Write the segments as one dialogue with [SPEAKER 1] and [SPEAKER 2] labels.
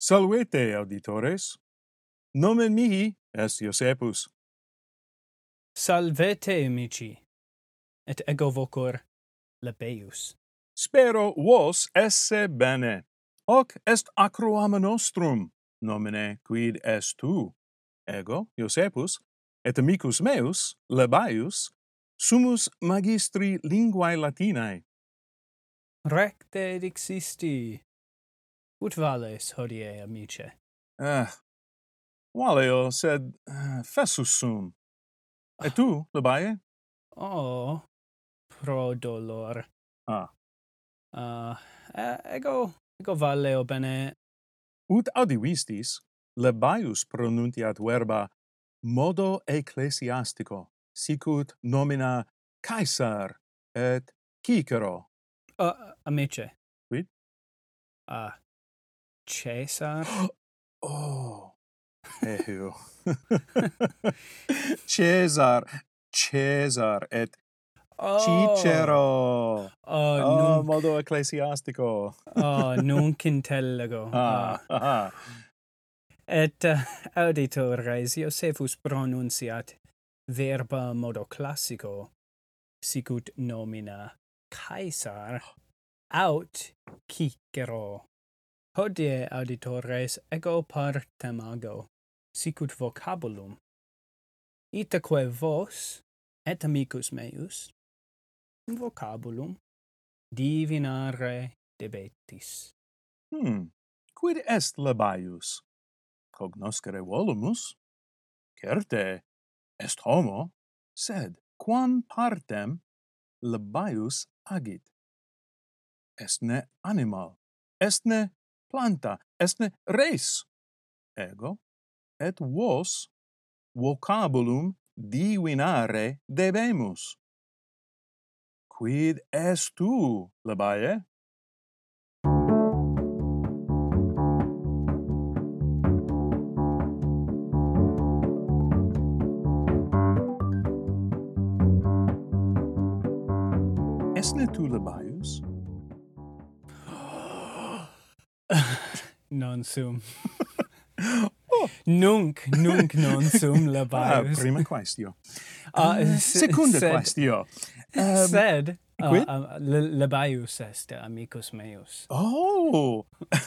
[SPEAKER 1] Salvete, auditores. Nomen mihi est Iosepus.
[SPEAKER 2] Salvete, amici, et ego vocor lebeus.
[SPEAKER 1] Spero vos esse bene. Hoc est acroam nostrum, nomine quid est tu. Ego, Iosepus, et amicus meus, Lebaius, sumus magistri linguae Latinae.
[SPEAKER 2] Recte dixisti. Ut vales hodie, amice?
[SPEAKER 1] Ah, valeo, sed ah, fessus sum. Et tu, Lebae?
[SPEAKER 2] Oh, pro dolor.
[SPEAKER 1] Ah.
[SPEAKER 2] Ah, e ego, ego valeo bene.
[SPEAKER 1] Ut audivistis, Lebaius pronuntiat verba modo ecclesiastico, sicut nomina Caesar et Cicero.
[SPEAKER 2] Uh, amice.
[SPEAKER 1] Quid?
[SPEAKER 2] Ah, Caesar?
[SPEAKER 1] Oh, eheu. Caesar, Caesar et
[SPEAKER 2] Oh.
[SPEAKER 1] Cicero. Oh,
[SPEAKER 2] Oh, nunc,
[SPEAKER 1] modo ecclesiastico.
[SPEAKER 2] oh, nunc intellego.
[SPEAKER 1] Ah, ah, ah.
[SPEAKER 2] Et uh, auditores Iosephus pronunciat verba modo classico, sicut nomina Caesar aut Cicero. Hodie auditores ego partemago, sicut vocabulum. Itaque vos, et amicus meus, in vocabulum divinare debetis.
[SPEAKER 1] Hmm. Quid est Labaius? Cognoscere volumus? Certe, est homo, sed quam partem Labaius agit? Est ne animal, est ne planta, est ne res. Ego, et vos vocabulum divinare debemus. Quid est tu, Labae? Esne tu Labaius?
[SPEAKER 2] Non sum. Nunc, nunc non sum
[SPEAKER 1] Oh. Ah,
[SPEAKER 2] labaius.
[SPEAKER 1] prima quaestio. Ah,
[SPEAKER 2] Ah, se-
[SPEAKER 1] secunda
[SPEAKER 2] sed-
[SPEAKER 1] quaestio. Um,
[SPEAKER 2] Sed, uh,
[SPEAKER 1] quid?
[SPEAKER 2] uh, le- labaius est, amicus meus.
[SPEAKER 1] Oh!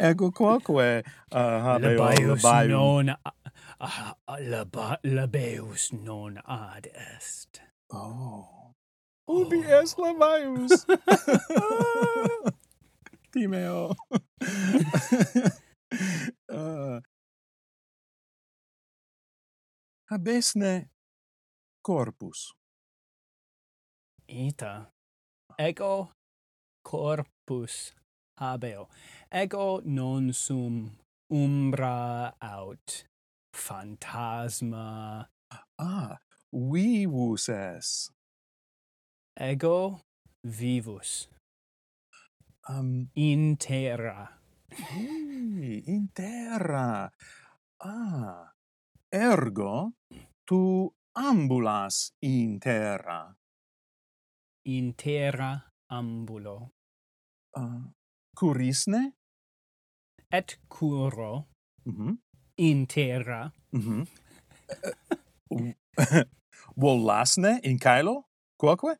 [SPEAKER 1] Ego quoque uh, habeo labaium.
[SPEAKER 2] non... a- ah, ah, laba, labeus non ad est.
[SPEAKER 1] Oh. Ubi es labaius? Timeo. uh, habesne corpus.
[SPEAKER 2] Ita. Ego corpus habeo. Ego non sum umbra aut phantasma
[SPEAKER 1] Ah, vivus es.
[SPEAKER 2] ego vivus
[SPEAKER 1] Um,
[SPEAKER 2] in terra
[SPEAKER 1] Hey, in terra. Ah, ergo tu ambulas in terra.
[SPEAKER 2] in terra ambulo
[SPEAKER 1] Uh, curisne?
[SPEAKER 2] et curo
[SPEAKER 1] Mhm.
[SPEAKER 2] in terra
[SPEAKER 1] Mhm. Uh, volasne in caelo? Quoque?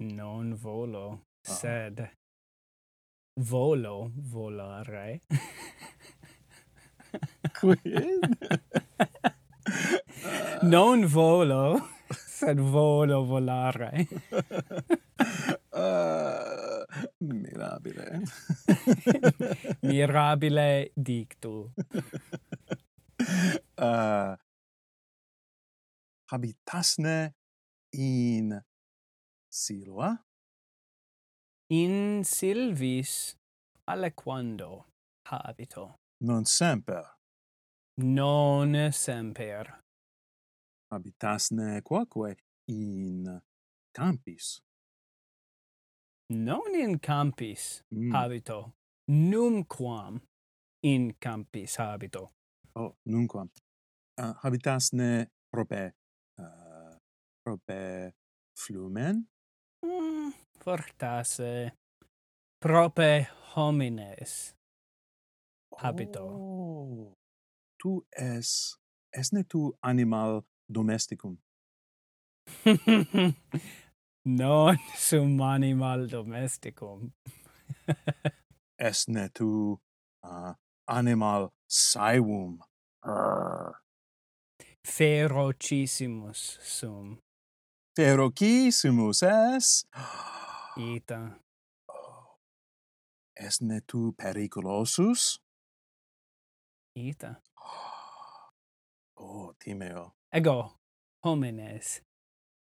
[SPEAKER 2] non volo
[SPEAKER 1] Ah.
[SPEAKER 2] sed volo volare
[SPEAKER 1] Quid?
[SPEAKER 2] non volo sed volo volare
[SPEAKER 1] uh, mirabile.
[SPEAKER 2] mirabile dictu
[SPEAKER 1] uh, habitasne in eh? silua?
[SPEAKER 2] in silvis aliquando habito
[SPEAKER 1] non semper
[SPEAKER 2] non semper
[SPEAKER 1] habitasne quoque in campis.
[SPEAKER 2] non in campis
[SPEAKER 1] Mm.
[SPEAKER 2] habito numquam in campis habito
[SPEAKER 1] Oh, nunquam. Uh, habitasne prope, uh, prope flumen?
[SPEAKER 2] mm, fortasse prope homines habito.
[SPEAKER 1] Oh. Tu es esne tu animal domesticum.
[SPEAKER 2] non sum animal domesticum.
[SPEAKER 1] Esne tu uh, animal saevum. Arr.
[SPEAKER 2] Ferocissimus sum
[SPEAKER 1] Ferocissimus es.
[SPEAKER 2] ita.
[SPEAKER 1] Esne tu periculosus?
[SPEAKER 2] Ita.
[SPEAKER 1] Oh, timeo.
[SPEAKER 2] Ego homines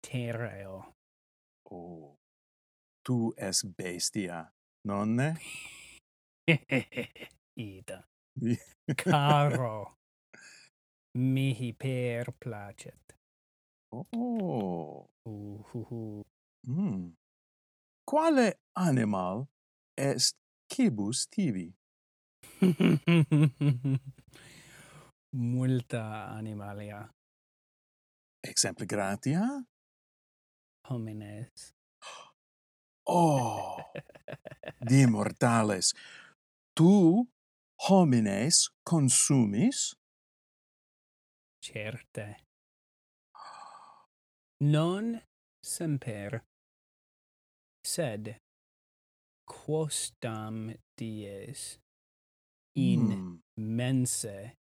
[SPEAKER 2] terreo.
[SPEAKER 1] Oh. Tu es bestia, nonne?
[SPEAKER 2] ita. Caro. Mihi per placet.
[SPEAKER 1] Oh.
[SPEAKER 2] Uhuhu.
[SPEAKER 1] Mm. Quale animal est cibus tibi?
[SPEAKER 2] Multa animalia
[SPEAKER 1] Exemple gratia?
[SPEAKER 2] homines.
[SPEAKER 1] Oh, di mortales, tu homines consumis?
[SPEAKER 2] certe. Non semper, sed quosdam dies in
[SPEAKER 1] Hmm.
[SPEAKER 2] mense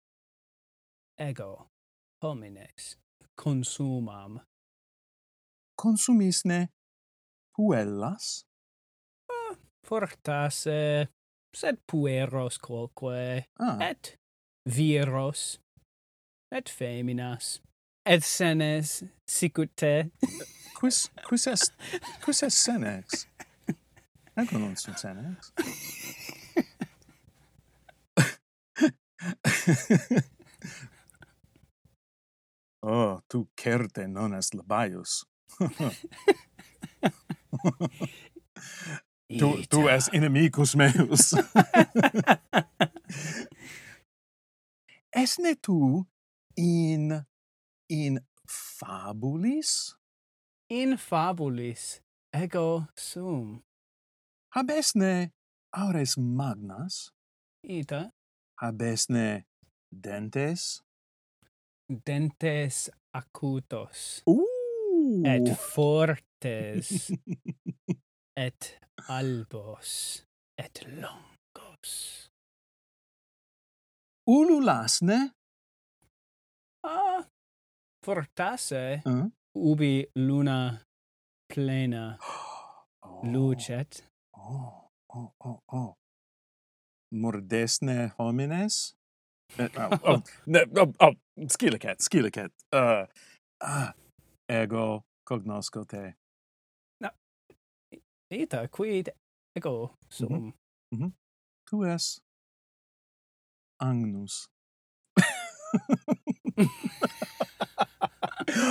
[SPEAKER 2] ego homines consumam.
[SPEAKER 1] Consumisne puellas?
[SPEAKER 2] Fortasse, sed pueros quoque,
[SPEAKER 1] Ah,
[SPEAKER 2] et viros, et feminas, et senes sicute.
[SPEAKER 1] quis, quis est, quis est senex? Ego non sunt senex. oh, tu certe non est labaius. Tu, tu
[SPEAKER 2] Ita.
[SPEAKER 1] es inimicus meus. Esne tu in in fabulis
[SPEAKER 2] in fabulis ego sum
[SPEAKER 1] habesne aures magnas
[SPEAKER 2] ita
[SPEAKER 1] habesne dentes
[SPEAKER 2] dentes acutos
[SPEAKER 1] ooh
[SPEAKER 2] et fortes et albos et longos
[SPEAKER 1] ululasne
[SPEAKER 2] ah fortasse
[SPEAKER 1] Huh?
[SPEAKER 2] ubi luna plena
[SPEAKER 1] Ah. oh.
[SPEAKER 2] lucet
[SPEAKER 1] oh oh oh oh mordesne homines Eh, oh, oh, ne, oh, oh, scilicet, scilicet. Uh, ah, ego cognosco te.
[SPEAKER 2] ita quid ego sum
[SPEAKER 1] Tu es Agnus.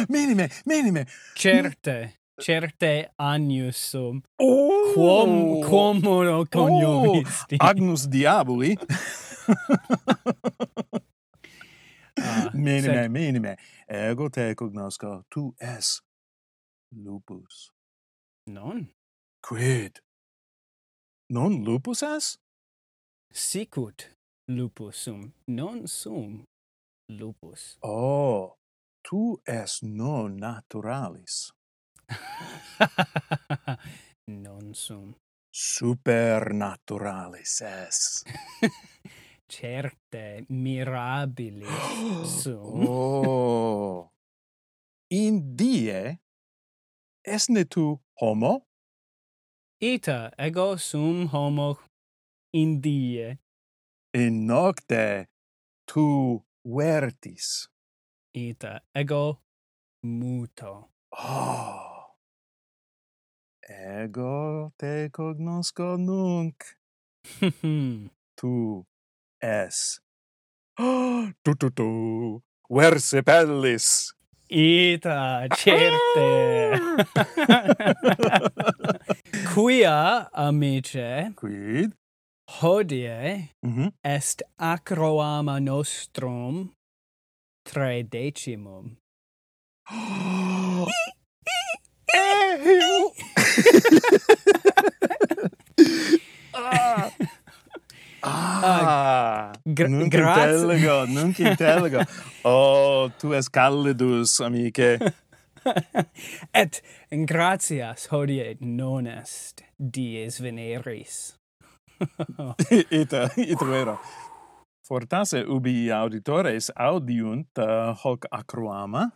[SPEAKER 1] minime, minime.
[SPEAKER 2] certe certe agnus sum
[SPEAKER 1] Oh!
[SPEAKER 2] quom quom mono coniovisti
[SPEAKER 1] Agnus diaboli.
[SPEAKER 2] Ah,
[SPEAKER 1] minime, minime. Ego te cognosco. Tu es lupus.
[SPEAKER 2] non
[SPEAKER 1] Quid? Non lupus es?
[SPEAKER 2] sicut lupus sum non sum lupus
[SPEAKER 1] Oh, tu es non naturalis.
[SPEAKER 2] non sum
[SPEAKER 1] Supernaturalis es.
[SPEAKER 2] certe mirabilis Sum.
[SPEAKER 1] oh. In die esne tu homo?
[SPEAKER 2] ita ego sum homo in die
[SPEAKER 1] In nocte tu vertis.
[SPEAKER 2] ita ego muto
[SPEAKER 1] Oh. Ego te cognosco nunc.
[SPEAKER 2] Hmm.
[SPEAKER 1] Tu es. tu tu tu. Versipellis.
[SPEAKER 2] ita certe Ah!
[SPEAKER 1] Ah!
[SPEAKER 2] quia amice
[SPEAKER 1] Quid?
[SPEAKER 2] hodie
[SPEAKER 1] Mhm.
[SPEAKER 2] est acroama nostrum tredecimum.
[SPEAKER 1] Ah. ah. ah.
[SPEAKER 2] Gra-
[SPEAKER 1] Nunc
[SPEAKER 2] grazie.
[SPEAKER 1] intelligo, nunc intelligo. Oh, tu es callidus, amice.
[SPEAKER 2] Et gratias hodie non est dies veneris.
[SPEAKER 1] ita, ita vero. Fortasse ubi auditores audiunt uh, hoc acroama.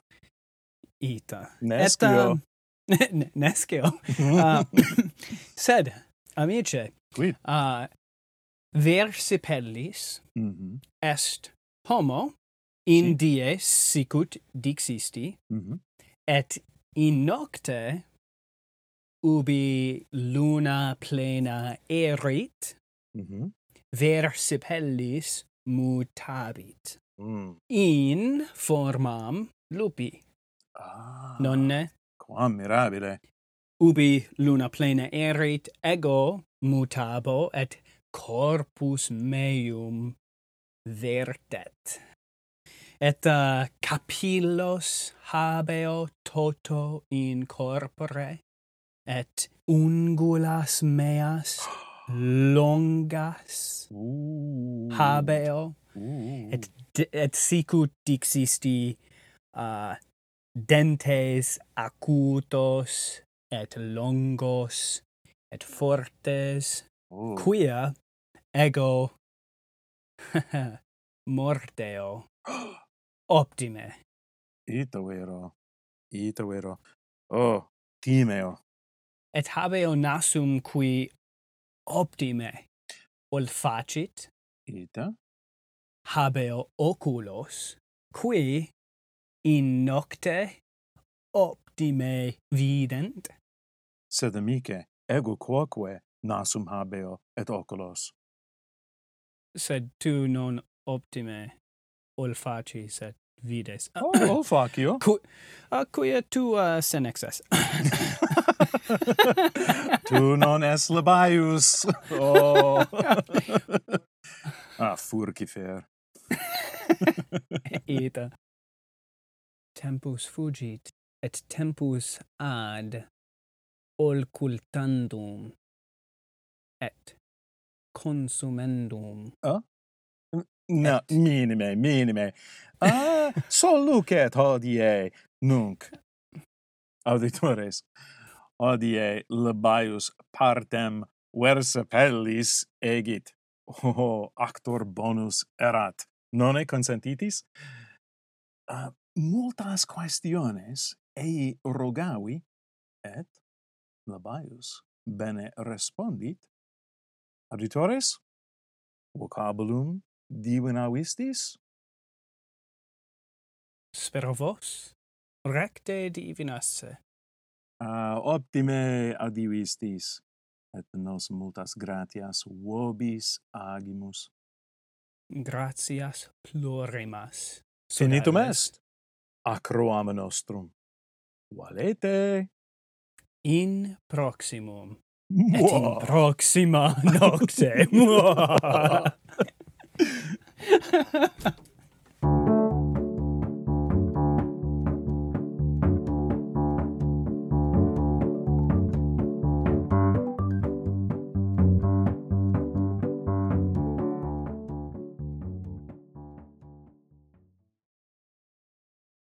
[SPEAKER 2] Ita.
[SPEAKER 1] Nescio.
[SPEAKER 2] Et, um, nescio.
[SPEAKER 1] Ah.
[SPEAKER 2] uh, sed, amice,
[SPEAKER 1] Quid?
[SPEAKER 2] uh, versipellis
[SPEAKER 1] Mhm,
[SPEAKER 2] est homo in die sicut dixisti,
[SPEAKER 1] mhm.
[SPEAKER 2] et in nocte ubi luna plena erit,
[SPEAKER 1] Mhm.
[SPEAKER 2] versipellis mutabit
[SPEAKER 1] Mm.
[SPEAKER 2] in formam lupi
[SPEAKER 1] Ah,
[SPEAKER 2] nonne
[SPEAKER 1] Quam mirabile.
[SPEAKER 2] ubi luna plena erit ego mutabo et corpus meum vertet et uh, capillos habeo toto in corpore et ungulas meas longas
[SPEAKER 1] Ooh.
[SPEAKER 2] habeo
[SPEAKER 1] Ooh.
[SPEAKER 2] et d- et sicut dixisti uh, dentes acutos et longos et fortes
[SPEAKER 1] Oh.
[SPEAKER 2] quia ego morteo optime
[SPEAKER 1] Ita vero. Ita vero. Oh, timeo.
[SPEAKER 2] et habeo nasum qui optime olfacit
[SPEAKER 1] Ita.
[SPEAKER 2] habeo oculos qui in nocte optime vident
[SPEAKER 1] Sed amice, ego quoque nasum habeo et oculos.
[SPEAKER 2] sed tu non optime olfacis et vides
[SPEAKER 1] Oh, oh facio.
[SPEAKER 2] Qu- uh, quia tu uh, senexes
[SPEAKER 1] tu non es labaius. Oh. ah, furcifer.
[SPEAKER 2] ita tempus fugit et tempus ad olcultandum et consumendum
[SPEAKER 1] No, minime, minime. Ah, sol lucet hodie, nunc. Auditores, hodie labaius partem versapellis egit. Oh, actor bonus erat. Nonne consentitis? Uh, multas questiones ei rogavi, et labaius bene respondit. Auditores, vocabulum divinavistis?
[SPEAKER 2] spero vos recte divinasse
[SPEAKER 1] Uh, optime adivistis, et nos multas gratias vobis agimus.
[SPEAKER 2] gratias plurimas
[SPEAKER 1] Finitum
[SPEAKER 2] sodales.
[SPEAKER 1] est. Acroam nostrum. Valete!
[SPEAKER 2] in proximum et in
[SPEAKER 1] Muah!
[SPEAKER 2] proxima nocte.